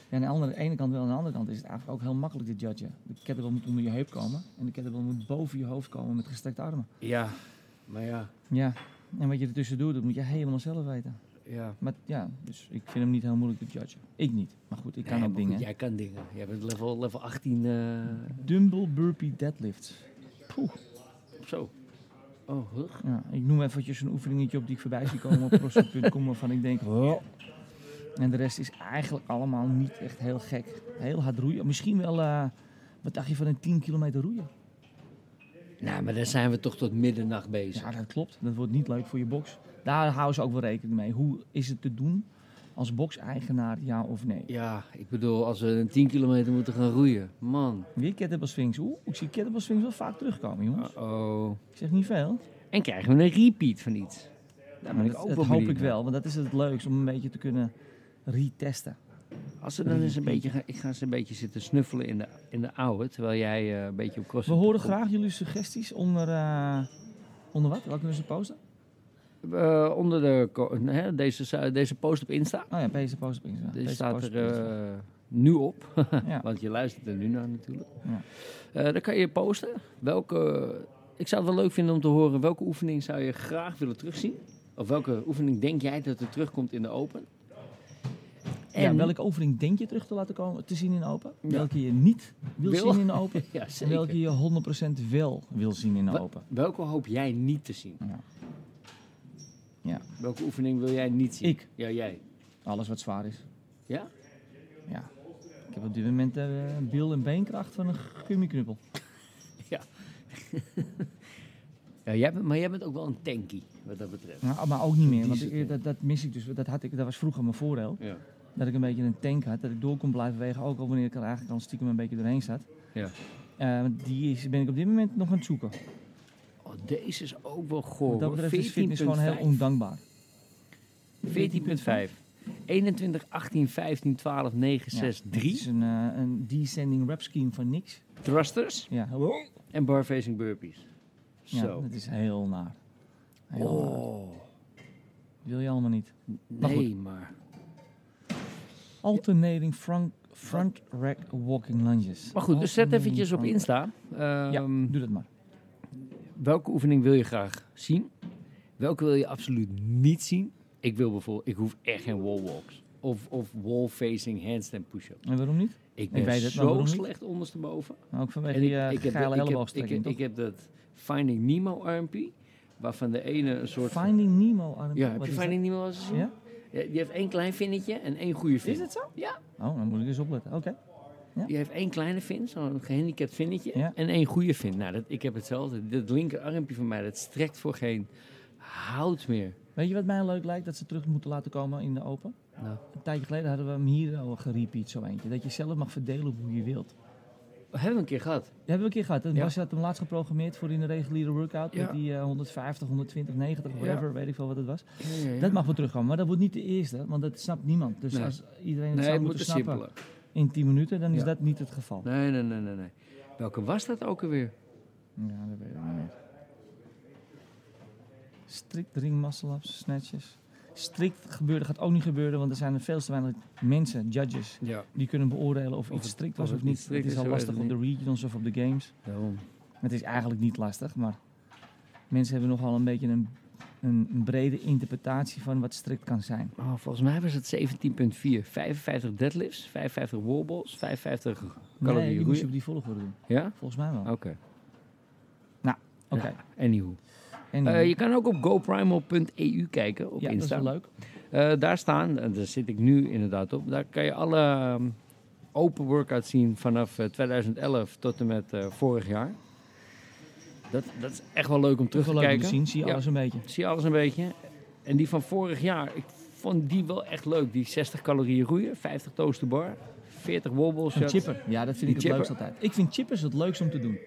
S1: Ja, aan de, andere, aan de ene kant wel, aan de andere kant is het eigenlijk ook heel makkelijk te judgen. De kettlebell moet onder je heup komen en de kettlebell moet boven je hoofd komen met gestrekte armen.
S2: Ja, maar ja,
S1: Ja, en wat je ertussen doet, dat moet je helemaal zelf weten.
S2: ja.
S1: Maar ja, dus ik vind hem niet heel moeilijk te judgen. Ik niet, maar goed, ik kan
S2: Nee,
S1: ook
S2: maar goed,
S1: dingen.
S2: Jij kan dingen. Jij bent level, level 18. eh,
S1: Dumbbell burpee deadlift. Poeh.
S2: zo. Oh, huh?
S1: Ja, ik noem eventjes een oefeningetje op die ik voorbij zie komen op crossfit.com waarvan ik denk...
S2: Oh.
S1: "Wow." En de rest is eigenlijk allemaal niet echt heel gek. Heel hard roeien. Misschien wel, eh, wat dacht je van een 10 kilometer roeien?
S2: Nou, maar daar zijn we toch tot middernacht bezig.
S1: Ja, dat klopt. Dat wordt niet leuk voor je box. Daar houden ze ook wel rekening mee. Hoe is het te doen als box-eigenaar, ja of nee?
S2: Ja, ik bedoel, als we een 10 kilometer moeten gaan roeien. Man.
S1: Weer kettlebell swings. Oeh, ik zie kettlebell swings wel vaak terugkomen, jongens.
S2: Uh-oh.
S1: Ik zeg niet veel.
S2: En krijgen we een repeat van iets. Daar ben
S1: Maar
S2: ik
S1: dat
S2: ook
S1: dat
S2: wel
S1: hoop
S2: benieuwd
S1: ik
S2: naar.
S1: wel, want dat is het leukst om een beetje te kunnen retesten.
S2: Als ze dan eens een beetje, gaan- ik ga eens een beetje zitten snuffelen in de, in de oude, terwijl jij eh, een beetje op cross.
S1: We horen graag jullie suggesties onder, eh, onder wat? Waar kunnen ze posten?
S2: Eh, onder de, ko- hè, deze, su- deze post op Insta.
S1: Oh ja, deze post op Insta.
S2: Deze
S1: Deze
S2: staat
S1: post
S2: er
S1: op Insta.
S2: eh, nu op,
S1: Ja.
S2: want je luistert er nu naar natuurlijk.
S1: Ja.
S2: Eh, dan kan je posten. Welke, ik zou het wel leuk vinden om te horen welke oefening zou je graag willen terugzien? Of welke oefening denk jij dat er terugkomt in de open?
S1: ja, welke oefening denk je terug te laten komen, te zien in open?
S2: Ja.
S1: Welke je niet wil,
S2: Wil.
S1: zien in open?
S2: ja,
S1: En
S2: zeker.
S1: welke je 100% wel wil zien in
S2: Wa-
S1: open?
S2: welke hoop jij niet te zien?
S1: Ja. ja,
S2: Welke oefening wil jij niet zien?
S1: Ik.
S2: Ja, jij.
S1: alles wat zwaar is.
S2: Ja?
S1: Ja. Ik heb op dit moment eh bil- en beenkracht van een gummiknuppel.
S2: Ja, jij bent, maar jij bent ook wel een tankie, wat dat betreft.
S1: Nou, maar ook niet meer,
S2: Die
S1: want
S2: zit
S1: ik-
S2: in.
S1: dat, dat mis ik dus. Dat, had ik, dat was vroeger mijn voordeel.
S2: Ja.
S1: dat ik een beetje een tank had, dat ik door kon blijven wegen, ook al wanneer ik er eigenlijk al stiekem een beetje doorheen zat.
S2: ja.
S1: Eh, die is, ben ik op dit moment nog aan het zoeken.
S2: Oh, deze is ook wel
S1: Wat
S2: goor.
S1: dat
S2: hoor.
S1: betreft is fitness gewoon heel
S2: 14.5.
S1: ondankbaar.
S2: 14.5. 21, 18, 15, 12, 9, 6,
S1: Het
S2: 3.
S1: is een, eh, een descending rep scheme van niks.
S2: Thrusters
S1: Ja,
S2: en bar facing burpees.
S1: ja
S2: Zo.
S1: dat is heel naar. Heel naar.
S2: Oh,
S1: Wil je allemaal niet. Maar
S2: nee, maar.
S1: Alternating front, front rack walking lunges.
S2: Maar goed, dus zet
S1: Alternating
S2: eventjes op
S1: front-
S2: Insta.
S1: Oh, Ja,
S2: ehm,
S1: doe dat maar.
S2: Welke oefening wil je graag zien? Welke wil je absoluut niet zien? Ik wil bijvoorbeeld, ik hoef echt geen wall walks. Of, of wall facing handstand push-up.
S1: En waarom niet?
S2: Ik ben
S1: weet het, maar
S2: zo
S1: waarom niet?
S2: slecht ondersteboven.
S1: Ook vanwege
S2: En
S1: die eh, geile
S2: heb, ik,
S1: elleboogstrekking,
S2: heb, ik
S1: toch?
S2: heb dat Finding Nemo armpje, waarvan de ene een soort... van-
S1: Finding Nemo aan
S2: ja, heb je Finding Nemo al eens gezien?
S1: Ja?
S2: Ja, die heeft één klein vinnetje en één goede vin.
S1: Is het zo?
S2: Ja.
S1: Oh, dan moet ik eens opletten. Oké.
S2: Die heeft één kleine vin, zo'n gehandicapt vinnetje,
S1: Ja.
S2: en één goede vin. Nou, dat, ik heb hetzelfde. Dat linkerarmpje van mij, dat strekt voor geen hout meer.
S1: Weet je wat mij leuk lijkt? Dat ze terug moeten laten komen in de open.
S2: Nou.
S1: Een tijdje geleden hadden we hem hier al gerepeat, zo eentje. Dat je zelf mag verdelen hoe je wilt.
S2: We hebben een keer gehad.
S1: Dat hebben we een keer gehad. En
S2: Ja.
S1: Bas had hem laatst geprogrammeerd voor in de reguliere workout.
S2: Ja.
S1: Met die eh, 150, 120, 90, whatever. Weet ik veel wat het was. Dat
S2: Dat
S1: mag wel terugkomen. Maar dat wordt niet de eerste, want dat snapt niemand. Dus
S2: Nee.
S1: als iedereen het
S2: nee,
S1: zou
S2: het moet
S1: moeten
S2: een
S1: snappen
S2: simpeler.
S1: in 10 minuten, dan is
S2: Ja.
S1: dat niet het geval.
S2: Nee, nee, nee, nee, nee. Welke was dat ook alweer?
S1: Ja, dat weet ik niet meer. Strikt ring muscle ups, snatches. Strikt gebeuren gaat ook niet gebeuren, want er zijn er veel te weinig mensen, judges,
S2: Ja.
S1: die kunnen beoordelen of,
S2: Of
S1: iets
S2: het-
S1: strikt
S2: of
S1: was
S2: het
S1: of
S2: niet
S1: niet.
S2: strikt
S1: het
S2: is,
S1: is al
S2: zo is
S1: lastig
S2: het
S1: op de
S2: niet.
S1: regionals of op de games.
S2: Daarom.
S1: Het is eigenlijk niet lastig, maar mensen hebben nogal een beetje een, een brede interpretatie van wat strikt kan zijn.
S2: Oh, volgens mij was het 17.4. 55 deadlifts, 55 wallballs, 55 calorieën
S1: nee, die moest
S2: roeien.
S1: je op die volgorde doen.
S2: Oh, Ja?
S1: Volgens mij wel.
S2: Oké.
S1: Oké.
S2: Anywho.
S1: En
S2: Eh, je kan ook op goprimal.eu kijken op
S1: ja, dat is
S2: Insta.
S1: wel leuk.
S2: Eh, daar staan, en daar zit ik nu inderdaad op, daar kan je alle ehm, open workouts zien vanaf eh, 2011 tot en met eh, vorig jaar. Dat, dat is echt wel leuk om terug
S1: Terug
S2: te
S1: wel leuk om
S2: kijken.
S1: te zien, zie je
S2: Ja.
S1: alles een beetje.
S2: Zie je alles een beetje. En die van vorig jaar, ik vond die wel echt leuk. Die 60 calorieën roeien, 50 toast to bar, 40 wobbles.
S1: Een chipper. Ja, dat vind ik het
S2: chipper.
S1: leukst altijd. Ik vind chippers het leukst om te doen.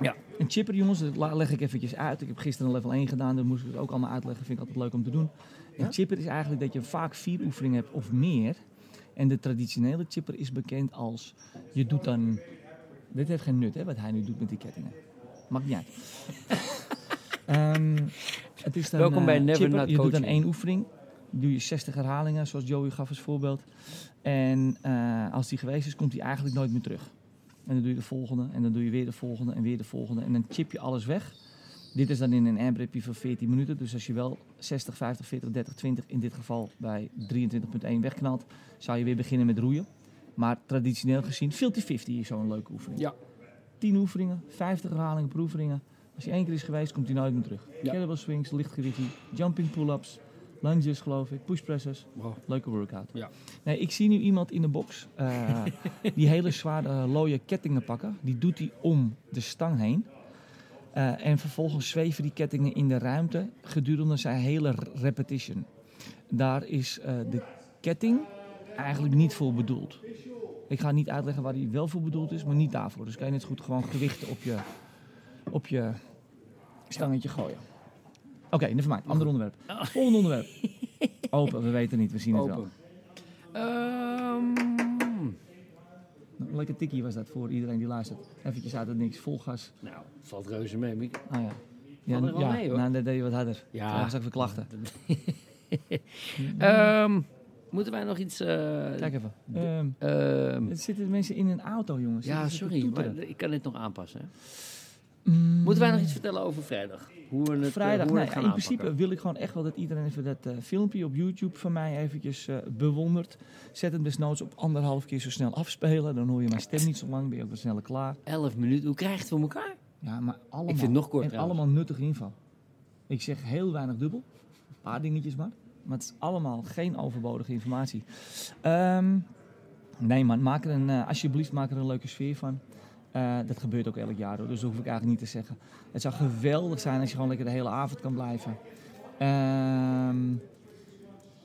S2: Ja.
S1: Een chipper, jongens, dat la- leg ik eventjes uit. Ik heb gisteren een level 1 gedaan, daar moest ik het ook allemaal uitleggen. Vind ik altijd leuk om te doen. Een chipper is eigenlijk dat je vaak vier oefeningen hebt of meer. En de traditionele chipper is bekend als... Je doet dan... Dit heeft geen nut, hè, wat hij nu doet met die kettingen. Maakt niet uit. Ehm, het is dan,
S2: Welkom
S1: eh,
S2: bij Never
S1: chipper.
S2: Not
S1: Je doet dan
S2: Coaching.
S1: één oefening. Doe je 60 herhalingen, zoals Joey gaf als voorbeeld. En eh, als die geweest is, komt die eigenlijk nooit meer terug. En dan doe je de volgende, en dan doe je weer de volgende, en weer de volgende. En dan chip je alles weg. Dit is dan in een amperipje van 14 minuten. Dus als je wel 60, 50, 40, 30, 20, in dit geval bij 23.1 wegknalt, zou je weer beginnen met roeien. Maar traditioneel gezien, 50-50 is zo'n leuke oefening.
S2: Ja.
S1: 10 oefeningen, 50 herhalingen per oefeningen. Als je één keer is geweest, komt hij nooit meer terug.
S2: Ja.
S1: Kettlebell swings, lichtgewichtie, jumping pull-ups, lunges geloof ik, push presses.
S2: Wow.
S1: Leuke workout.
S2: Ja.
S1: Nee, ik zie nu iemand in de box eh, die hele zware eh, looie kettingen pakken. Die doet hij om de stang heen. Eh, en vervolgens zweven die kettingen in de ruimte gedurende zijn hele r- repetition. Daar is eh, de ketting eigenlijk niet voor bedoeld. Ik ga niet uitleggen waar die wel voor bedoeld is, maar niet daarvoor. Dus kan je net zo goed gewoon gewichten op je, op je stangetje gooien. Oké, never mind. Ander onderwerp. Volgende onderwerp. Open, we weten niet, we zien het wel.
S2: Open. Ehm,
S1: Nou, Een lekker tikkie was dat voor iedereen die luistert. Eventjes uit het niks, vol gas.
S2: nou, valt reuze mee. Mieke.
S1: Ah ja. Ja,
S2: Valt er wel
S1: ja.
S2: mee, hoor.
S1: Nou, dat deed je wat harder.
S2: Ja.
S1: Ja. straks weer klachten.
S2: Ehm, moeten wij nog iets... eh,
S1: Kijk even. Ehm,
S2: ehm,
S1: er zitten mensen in een auto, jongens.
S2: ja,
S1: Zitten ze te
S2: sorry, maar
S1: toeteren.
S2: ik kan dit nog aanpassen. hè.
S1: Mm,
S2: Moeten wij nog iets vertellen over vrijdag? Hoe we het, eh,
S1: Vrijdag,
S2: hoe we
S1: nee,
S2: het gaan
S1: in principe
S2: aanpakken?
S1: wil ik gewoon echt wel dat iedereen even dat eh, filmpje op YouTube van mij eventjes eh, bewondert. Zet het desnoods op anderhalf keer zo snel afspelen. Dan hoor je mijn stem niet zo lang, ben je ook wat sneller klaar.
S2: 11 minuten, hoe krijgen we het voor elkaar?
S1: Ja, maar allemaal.
S2: Ik vind het nog kort
S1: En
S2: trouwens.
S1: allemaal nuttige info. Ik zeg heel weinig dubbel. Een paar dingetjes maar. Maar het is allemaal geen overbodige informatie. Ehm, nee man, maak er een, eh, alsjeblieft maak er een leuke sfeer van. Eh, dat gebeurt ook elk jaar hoor, dus dat hoef ik eigenlijk niet te zeggen. Het zou geweldig zijn als je gewoon lekker de hele avond kan blijven. Ehm,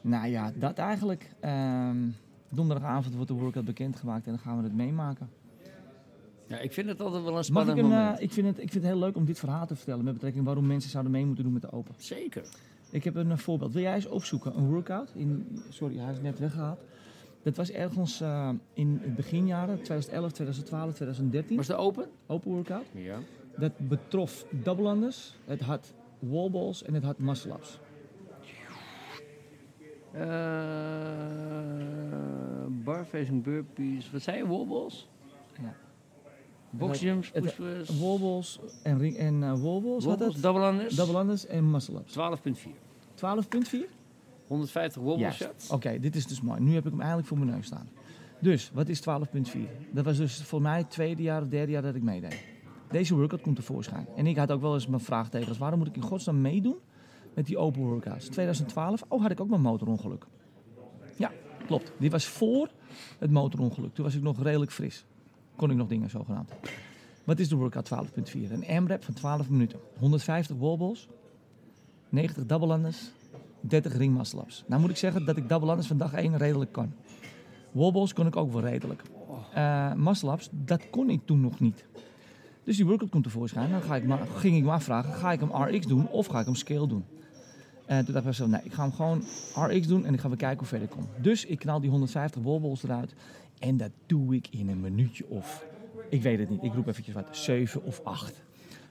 S1: nou ja, dat eigenlijk. Ehm, donderdagavond wordt de workout bekendgemaakt en dan gaan we het meemaken.
S2: Ja, ik vind het altijd wel een
S1: Mag ik,
S2: spannend
S1: een, eh,
S2: moment.
S1: ik, vind het, ik vind het heel leuk om dit verhaal te vertellen met betrekking waarom mensen zouden mee moeten doen met de open.
S2: Zeker.
S1: Ik heb een eh, voorbeeld. Wil jij eens opzoeken? Een workout. In, sorry, hij is net weggehaald. Dat was ergens eh, in het beginjaren, 2011, 2012, 2013.
S2: Was de open?
S1: Open workout.
S2: Ja.
S1: Dat betrof double-unders, het had wallballs en het had muscle-ups.
S2: bar facing Eh, burpees. Wat zijn je? Wobbles?
S1: Ja.
S2: Boxjumps,
S1: Het-
S2: push-ups.
S1: Wallballs en, ring, en eh, wallballs had
S2: Wobbles,
S1: het.
S2: double unders.
S1: Double-unders en muscle-ups.
S2: 12.4.
S1: 12.4?
S2: 150 wobble
S1: Juist.
S2: shots.
S1: Oké, dit is dus mooi. Nu heb ik hem eigenlijk voor mijn neus staan. Dus, wat is 12.4? Dat was dus voor mij het tweede jaar of derde jaar dat ik meedeed. Deze workout komt tevoorschijn. En ik had ook wel eens mijn vraagtekens. Waarom moet ik in godsnaam meedoen met die open workouts? 2012, oh, had ik ook mijn motorongeluk. Ja, klopt. Dit was voor het motorongeluk. Toen was ik nog redelijk fris. Kon ik nog dingen zogenaamd. Wat is de workout 12.4? Een AMRAP van 12 minuten. 150 wallballs. 90 double-unders. 30 ringmaslaps. Nou moet ik zeggen dat ik double-unders van dag 1 redelijk kan. Wallballs kon ik ook wel redelijk. Eh maslaps, dat kon ik toen nog niet. Dus die workout komt tevoorschijn. Dan ga ik maar, ging ik me afvragen, ga ik hem RX doen of ga ik hem scale doen? En toen dacht ik bij mezelf, nee, ik ga hem gewoon RX doen en ik ga weer kijken hoe ver ik kom. Dus ik knal die 150 wallballs eruit. En dat doe ik in een minuutje of, ik weet het niet, ik roep eventjes wat, 7 of 8.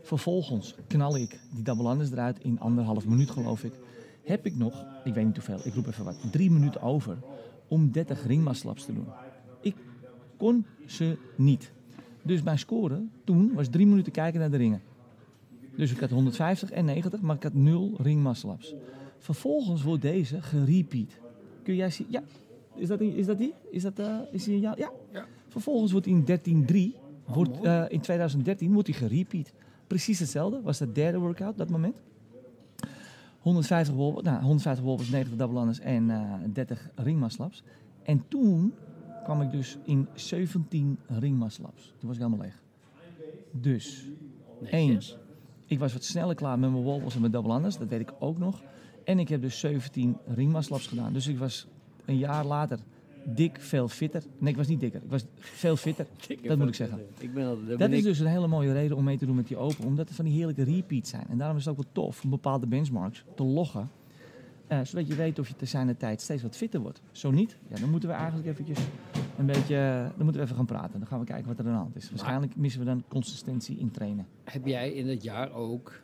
S1: Vervolgens knal ik die double-unders eruit in anderhalf minuut, geloof ik. Heb ik nog, ik weet niet hoeveel, ik roep even wat, drie minuten over om 30 ringmaslaps te doen. Ik kon ze niet. Dus mijn score toen was drie minuten kijken naar de ringen. Dus ik had 150 en 90, maar ik had 0 ringmaslaps. Vervolgens wordt deze gerepeat. Kun jij zien? Ja. Is dat, die- is dat die? Is dat eh, is die een ja? ja?
S2: Ja.
S1: Vervolgens wordt in 13-3, wordt, eh, in 2013, wordt die gerepeat. Precies hetzelfde, was dat derde workout dat moment. 150 wol, nou, 150 wol 90 double en eh, 30 ringmaslaps. En toen kwam ik dus in 17 ringmaslaps. Toen was ik helemaal leeg. Dus Eén,
S2: Netjes.
S1: ik was wat sneller klaar met mijn wallballs en mijn double unders, dat weet ik ook nog. En ik heb dus 17 ringmaslaps gedaan. Dus ik was een jaar later dik veel fitter. Nee, ik was niet dikker. Ik was veel fitter. dat moet ik zeggen.
S2: Ik ben altijd,
S1: Dat
S2: ben
S1: is
S2: ik-
S1: dus een hele mooie reden om mee te doen met die open. Omdat er van die heerlijke repeats zijn. En daarom is het ook wel tof om bepaalde benchmarks te loggen. eh, zodat je weet of je te zijn de tijd steeds wat fitter wordt. Zo niet, ja, dan moeten we eigenlijk eventjes een beetje... eh, Dan moeten we even gaan praten. Dan gaan we kijken wat er aan de hand is. Waarschijnlijk missen we dan consistentie in trainen.
S2: Heb jij in dat jaar ook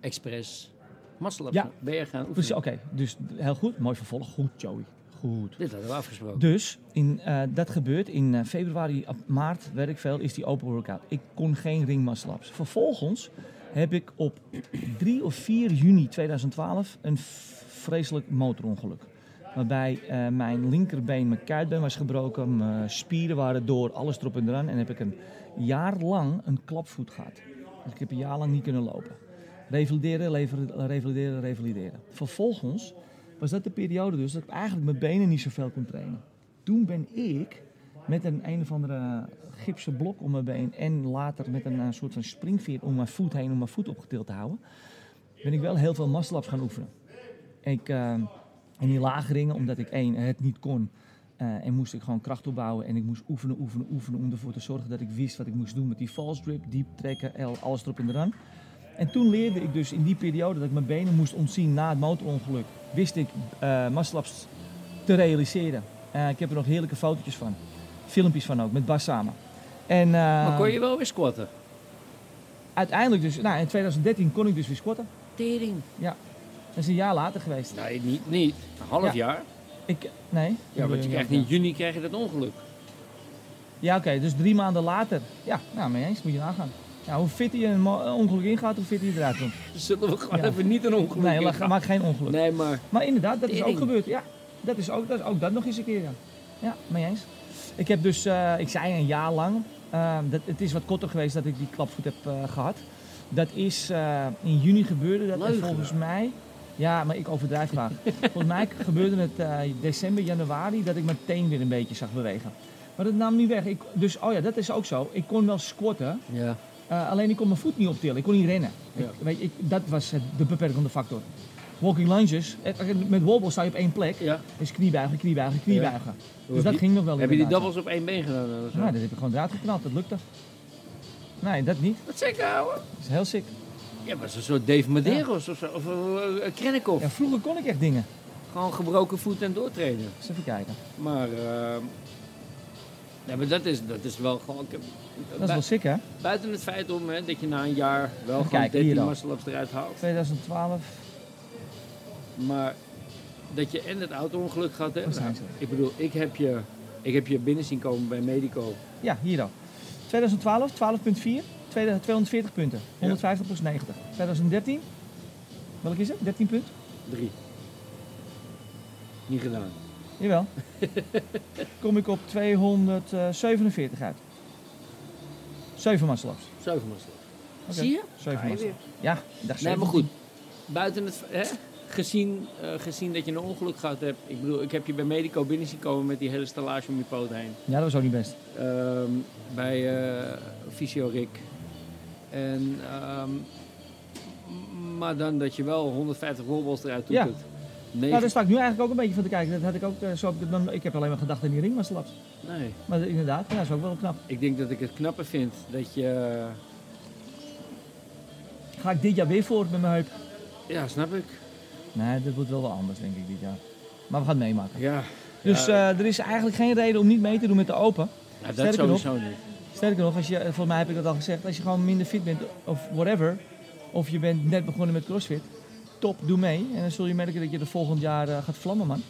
S2: expres muscle-ups
S1: Ja.
S2: ben je gaan
S1: Precies,
S2: oefenen?
S1: oké. Dus heel goed. Mooi vervolg. Goed, Joey. Goed.
S2: Dit hadden we afgesproken.
S1: Dus in, eh, dat gebeurt in eh, februari, ap- maart, weet ik veel, is die open workout. Ik kon geen ringmaslaps. Vervolgens heb ik op 3 of 4 juni 2012 een v- vreselijk motorongeluk. Waarbij eh, mijn linkerbeen, mijn kuitbeen was gebroken, mijn spieren waren door, alles erop en eraan. En heb ik een jaar lang een klapvoet gehad. Dus ik heb een jaar lang niet kunnen lopen. Revalideren, lever- revalideren, revalideren. Vervolgens was dat de periode dus dat ik eigenlijk mijn benen niet zoveel kon trainen. Toen ben ik met een een of andere gipsen blok om mijn been en later met een eh, soort van springveer om mijn voet heen om mijn voet opgetild te houden, ben ik wel heel veel muscle-ups gaan oefenen. Ik, eh, in die lage ringen, omdat ik één, het niet kon. eh, en moest ik gewoon kracht opbouwen en ik moest oefenen, oefenen, oefenen om ervoor te zorgen dat ik wist wat ik moest doen met die false drip, diep trekken, el- alles erop en eraan. En toen leerde ik dus in die periode dat ik mijn benen moest ontzien na het motorongeluk, wist ik eh muscle-ups te realiseren. Eh, ik heb er nog heerlijke fotootjes van, filmpjes van ook, met Bas samen. En, eh,
S2: maar kon je wel weer squatten?
S1: Uiteindelijk dus, nou in 2013 kon ik dus weer squatten.
S2: Tering.
S1: Dat is een jaar later geweest.
S2: Nee, niet. niet. Een half
S1: Ja.
S2: jaar.
S1: Ik, nee?
S2: Ja, want je krijgt in juni krijg je dat ongeluk.
S1: Ja, oké, dus drie maanden later. Ja, nou, mee eens, moet je nagaan. Ja, hoe fitter je een mo- een ongeluk ingaat, hoe fitter je eruit komt.
S2: Zullen we gewoon
S1: Ja.
S2: even niet een ongeluk
S1: Nee,
S2: in
S1: la-
S2: gaan?
S1: maak geen ongeluk.
S2: Nee, maar
S1: Maar inderdaad, dat is ook
S2: Tering.
S1: gebeurd. Ja, dat is ook dat, is ook dat nog eens een keer. Ja, ja mee eens. Ik heb dus, eh, ik zei een jaar lang, eh, dat, het is wat korter geweest dat ik die klapvoet heb eh, gehad. Dat is eh, in juni gebeurde dat en
S2: Leugen.
S1: volgens mij, ja, maar ik overdrijf graag. volgens mij gebeurde het eh, december, januari dat ik mijn teen weer een beetje zag bewegen. Maar dat nam niet weg. Ik, dus, oh ja, dat is ook zo. Ik kon wel squatten,
S2: ja.
S1: eh, alleen ik kon mijn voet niet optillen, ik kon niet rennen.
S2: Ja.
S1: Ik, weet, je, ik, dat was het, de beperkende factor. Walking lunges, eh, met wobbles sta je op één plek.
S2: ja.
S1: Dus kniebuigen, kniebuigen, kniebuigen. Dus
S2: Heb
S1: dat
S2: je-
S1: ging nog wel
S2: Heb je die
S1: inderdaad.
S2: doubles op één been gedaan? dan of zo?
S1: Nou, dat heb ik gewoon eruit geknald, dat lukte. Nee, dat niet.
S2: Wat zeg ik ouwe?
S1: Dat is heel sick.
S2: Ja, was een soort Dave Medeiros of zo. Of eh, eh, Krennikov.
S1: Ja, vroeger kon ik echt dingen.
S2: Gewoon gebroken voet en doortreden.
S1: Eens even kijken.
S2: Maar, eh, ja, maar dat, is, dat is wel gewoon... ik heb-
S1: Dat is wel sick, hè?
S2: Buiten het feit om, hè, dat je na een jaar wel
S1: Kijk,
S2: gewoon
S1: hier
S2: 13
S1: dan.
S2: muscle-ups eruit haalt.
S1: 2012.
S2: Maar dat je en het auto-ongeluk gehad
S1: Waar
S2: hebt.
S1: Oh, zijn ze?
S2: Ik bedoel, ik heb, je, ik heb je binnen zien komen bij Medico.
S1: Ja, hier dan. 2012, 12.4. 240 punten. 150 plus 90. 2013. Welk is het? 13 punt?
S2: Drie. Niet gedaan.
S1: Jawel. Kom ik op 247 uit. 7 muscle-ups.
S2: Zeven muscle-ups.
S1: Oké.
S2: Zie je?
S1: Zeven
S2: Ga je
S1: muscle-ups.
S2: weer.
S1: Ja, dag
S2: Nee,
S1: 17.
S2: maar goed. Buiten het... Hè, gezien, eh, gezien dat je een ongeluk gehad hebt. Ik bedoel, ik heb je bij Medico binnen zien komen met die hele stellage om je poot heen.
S1: Ja, dat was ook niet best.
S2: Ehm, bij eh Fysio Rick. En, ehm, m- maar dan dat je wel 150 rolballs eruit
S1: Ja.
S2: toetert. Nee.
S1: Nou, daar sta ik nu eigenlijk ook een beetje van te kijken. Dat had ik ook, eh, zo heb ik, het dan, ik heb alleen maar gedacht aan die ringmuscle-ups.
S2: nee.
S1: Maar inderdaad, ja, dat is ook wel knap.
S2: Ik denk dat ik het knapper vind dat je...
S1: Ga ik dit jaar weer voort met mijn heup?
S2: Ja, snap ik.
S1: Nee, dat wordt wel wel anders, denk ik, dit jaar. Maar we gaan het meemaken.
S2: Ja.
S1: Dus eh, er is eigenlijk geen reden om niet mee te doen met de open.
S2: Nou, dat
S1: sterker
S2: sowieso niet.
S1: Sterker nog, als je, volgens mij heb ik dat al gezegd, als je gewoon minder fit bent of whatever, of je bent net begonnen met crossfit, top, doe mee. En dan zul je merken dat je er volgend jaar eh, gaat vlammen, man.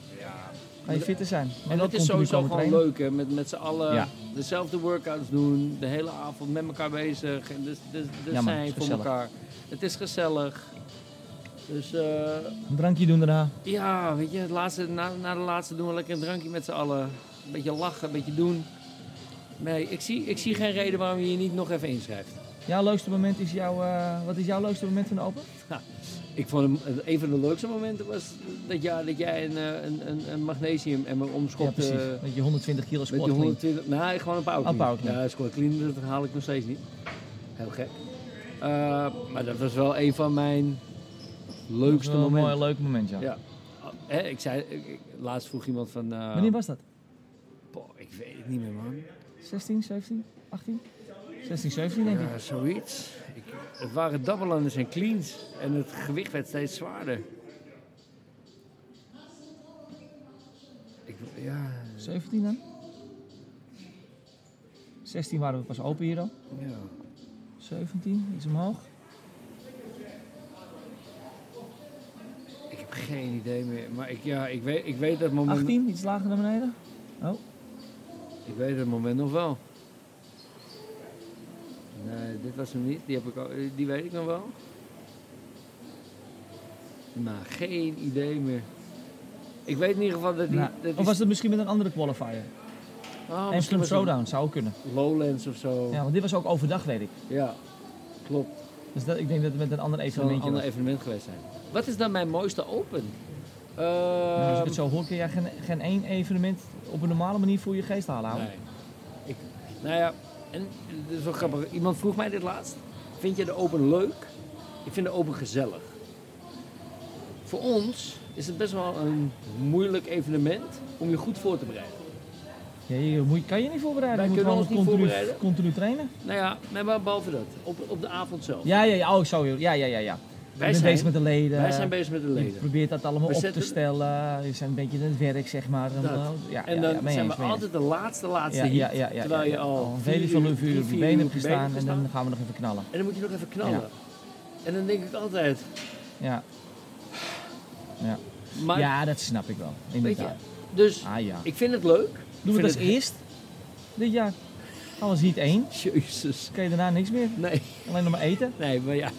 S1: Ga je fitter zijn. Maar
S2: En
S1: wel
S2: dat is
S1: continu
S2: sowieso
S1: komen trainen.
S2: gewoon leuk, hè? Met, met z'n allen
S1: Ja.
S2: dezelfde workouts doen, de hele avond met elkaar bezig. En dus, dus, dus
S1: Ja, man,
S2: zijn
S1: is
S2: voor
S1: gezellig.
S2: elkaar. Het is gezellig. Dus eh,
S1: Een drankje doen daarna.
S2: ja, weet je, het laatste, na, na de laatste doen we lekker een drankje met z'n allen. Een beetje lachen, een beetje doen. Nee, ik zie, ik zie geen reden waarom je je niet nog even inschrijft.
S1: Jouw leukste moment is jouw, eh, wat is jouw leukste moment van de open?
S2: Ik vond hem, eh, een van de leukste momenten was dat, ja, dat jij een, eh, een, een, een magnesium emmer
S1: ja,
S2: omschopte. eh,
S1: precies. dat je 120 kilo
S2: Met die
S1: squat clean.
S2: 120, nou gewoon een power clean.
S1: Een power clean.
S2: Ja, squat clean, dat haal ik nog steeds niet. Heel gek. Eh, maar dat was wel een van mijn
S1: Dat is
S2: leukste
S1: wel een
S2: momenten.
S1: mooi leuk moment, ja.
S2: Ja. Ah, hè, ik zei, ik- ik- laatst vroeg iemand van, eh,
S1: Wanneer was dat?
S2: boh, ik weet het niet meer man.
S1: 16, 17, 18? 16, 17 denk ik.
S2: Ja, zoiets. Ik, het waren dabbelanders en cleans en het gewicht werd steeds zwaarder. Ik, ja,
S1: 17 dan? 16 waren we pas open hier al.
S2: ja.
S1: 17, iets omhoog.
S2: Ik heb geen idee meer, maar ik, ja, ik, weet, ik weet dat moment...
S1: 18, iets lager naar beneden. Oh,
S2: Ik weet het moment nog wel. Nee, dit was hem niet. Die, heb ik al, eh, die weet ik nog wel. Maar geen idee meer. Ik weet in ieder geval dat die...
S1: nou,
S2: dat die-
S1: of was het misschien met een andere qualifier?
S2: Ah, misschien
S1: Amsterdam
S2: was het
S1: Showdown zou ook kunnen.
S2: Lowlands of zo.
S1: Ja,
S2: Ja,
S1: want dit was ook overdag, weet ik.
S2: klopt.
S1: Dus dat, ik denk dat het met een ander
S2: Het zou een
S1: evenementje was.
S2: ander evenement geweest zijn. Wat is dan mijn mooiste open? Ehm,
S1: Nou, als ik het zo hoor, kun jij geen, geen één evenement op een normale manier voor je geest halen. houden.
S2: Nee. Ik, nou ja, en het is wel grappig. Iemand vroeg mij dit laatst. Vind je de open leuk? Ik vind de open gezellig. Voor ons is het best wel een moeilijk evenement om je goed voor te bereiden.
S1: Ja, je moet, kan je niet voorbereiden.
S2: Wij
S1: je moet
S2: kunnen
S1: gewoon
S2: ons niet
S1: continu,
S2: voorbereiden.
S1: continu trainen.
S2: Nou ja, nee, maar behalve dat. Op, op de avond zelf.
S1: Ja, ja, ja. Oh, zo. joh. Ja, ja, ja. ja. Je
S2: wij,
S1: bent
S2: zijn,
S1: bezig met de leden.
S2: wij zijn bezig met de
S1: Je
S2: leden.
S1: probeert dat allemaal
S2: We
S1: op
S2: zetten-
S1: te stellen. Je zijn een beetje aan het werk, zeg maar.
S2: Dat.
S1: Ja,
S2: En
S1: ja,
S2: dan
S1: ja, mee
S2: zijn
S1: eens,
S2: we
S1: mee eens.
S2: altijd de laatste, laatste
S1: Ja,
S2: hit.
S1: ja, ja, ja,
S2: terwijl
S1: ja,
S2: je
S1: ja.
S2: al
S1: een
S2: vier
S1: vele van
S2: uur-
S1: uur op
S2: drie,
S1: je
S2: vier
S1: benen
S2: uur
S1: hebt
S2: op je benen
S1: gestaan en
S2: gestaan.
S1: dan gaan we nog even knallen.
S2: En dan moet je nog even knallen.
S1: Ja.
S2: En dan denk ik altijd...
S1: Ja,
S2: Maar,
S1: ja dat snap ik wel.
S2: weet je,
S1: Inderdaad.
S2: dus
S1: Ah ja.
S2: ik vind het leuk.
S1: Doen we
S2: vind
S1: dat als
S2: het-
S1: eerst? Dit jaar. Alles niet één.
S2: Jezus.
S1: Kun je daarna niks meer.
S2: Nee,
S1: Alleen nog maar eten.
S2: nee, maar ja.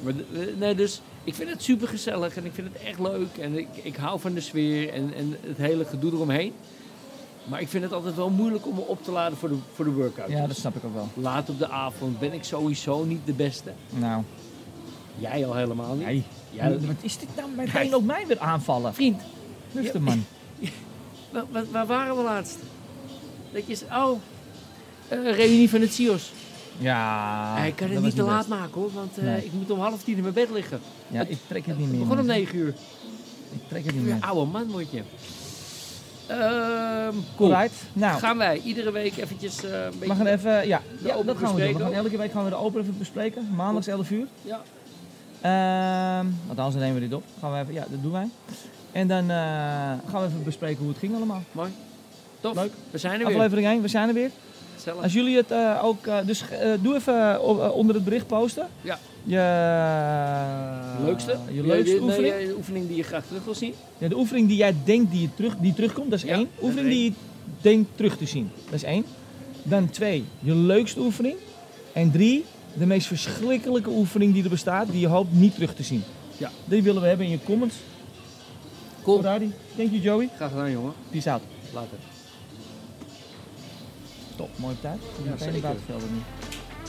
S2: Maar, de- eh, nee, dus ik vind het super gezellig en ik vind het echt leuk. En ik, ik hou van de sfeer en, en het hele gedoe eromheen. Maar ik vind het altijd wel moeilijk om me op te laden voor de, voor de workout.
S1: Ja, dat snap ik ook wel.
S2: Laat op de avond ben ik sowieso niet de beste.
S1: Nou,
S2: Jij al helemaal niet.
S1: hey.
S2: Jij-
S1: wat is dit nou meteen op mij weer aanvallen?
S2: Vriend,
S1: Nuchter man.
S2: wa- wa- waar, waren we laatst? Dat je zei, oh, eh, reunie van het CIO's.
S1: Ja.
S2: Hij kan het
S1: Ah, dat
S2: niet te
S1: was
S2: laat maken hoor, want eh,
S1: Nee.
S2: ik moet om half tien in mijn bed liggen.
S1: best. Ja, ik trek het niet
S2: We
S1: meer.
S2: begon om
S1: man.
S2: negen uur.
S1: Ik trek het niet
S2: Ja,
S1: meer.
S2: oude man word je. Ehm cool.
S1: Alright. Nou,
S2: Gaan wij iedere week eventjes eh, een beetje...
S1: we gaan even... Ja, ja, dat
S2: open
S1: gaan we doen. We
S2: bespreken
S1: gaan
S2: ook.
S1: elke week gaan we de open even bespreken. Maandags 11 uur.
S2: Ja.
S1: Ehm, want anders nemen we dit op. Gaan we even, ja, dat doen wij. En dan eh, gaan we even bespreken hoe het ging allemaal.
S2: Mooi. Tof.
S1: Leuk.
S2: We zijn er weer.
S1: Aflevering 1, we zijn er weer.
S2: Gezellig.
S1: Als jullie het eh, ook... eh, dus eh, doe even o- eh, onder het bericht posten.
S2: Ja.
S1: Je
S2: Eh, Leukste?
S1: Je leukste
S2: Nee,
S1: oefening.
S2: nee, de oefening die je graag terug wil zien.
S1: Ja, de oefening die jij denkt die, je terug, die terugkomt, dat is
S2: Ja,
S1: één.
S2: dat is
S1: Oefening
S2: één.
S1: die je denkt terug te zien, dat is één. Dan twee, je leukste oefening. En drie, de meest verschrikkelijke oefening die er bestaat, die je hoopt niet terug te zien.
S2: Ja.
S1: Die willen we hebben in je comments.
S2: Cool.
S1: Ferrari, thank you Joey.
S2: Graag gedaan, jongen.
S1: Peace out.
S2: Later.
S1: Top, mooie tijd.
S2: Ja,
S1: Meteen
S2: zeker.
S1: buitenvelden nu.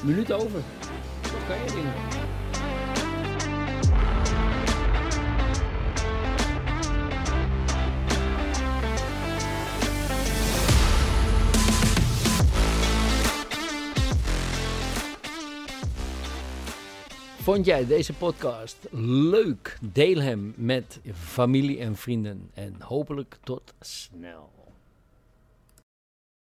S2: Minuut over. Zo kan je dingen. Vond jij deze podcast leuk? Deel hem met je familie en vrienden. En hopelijk tot snel.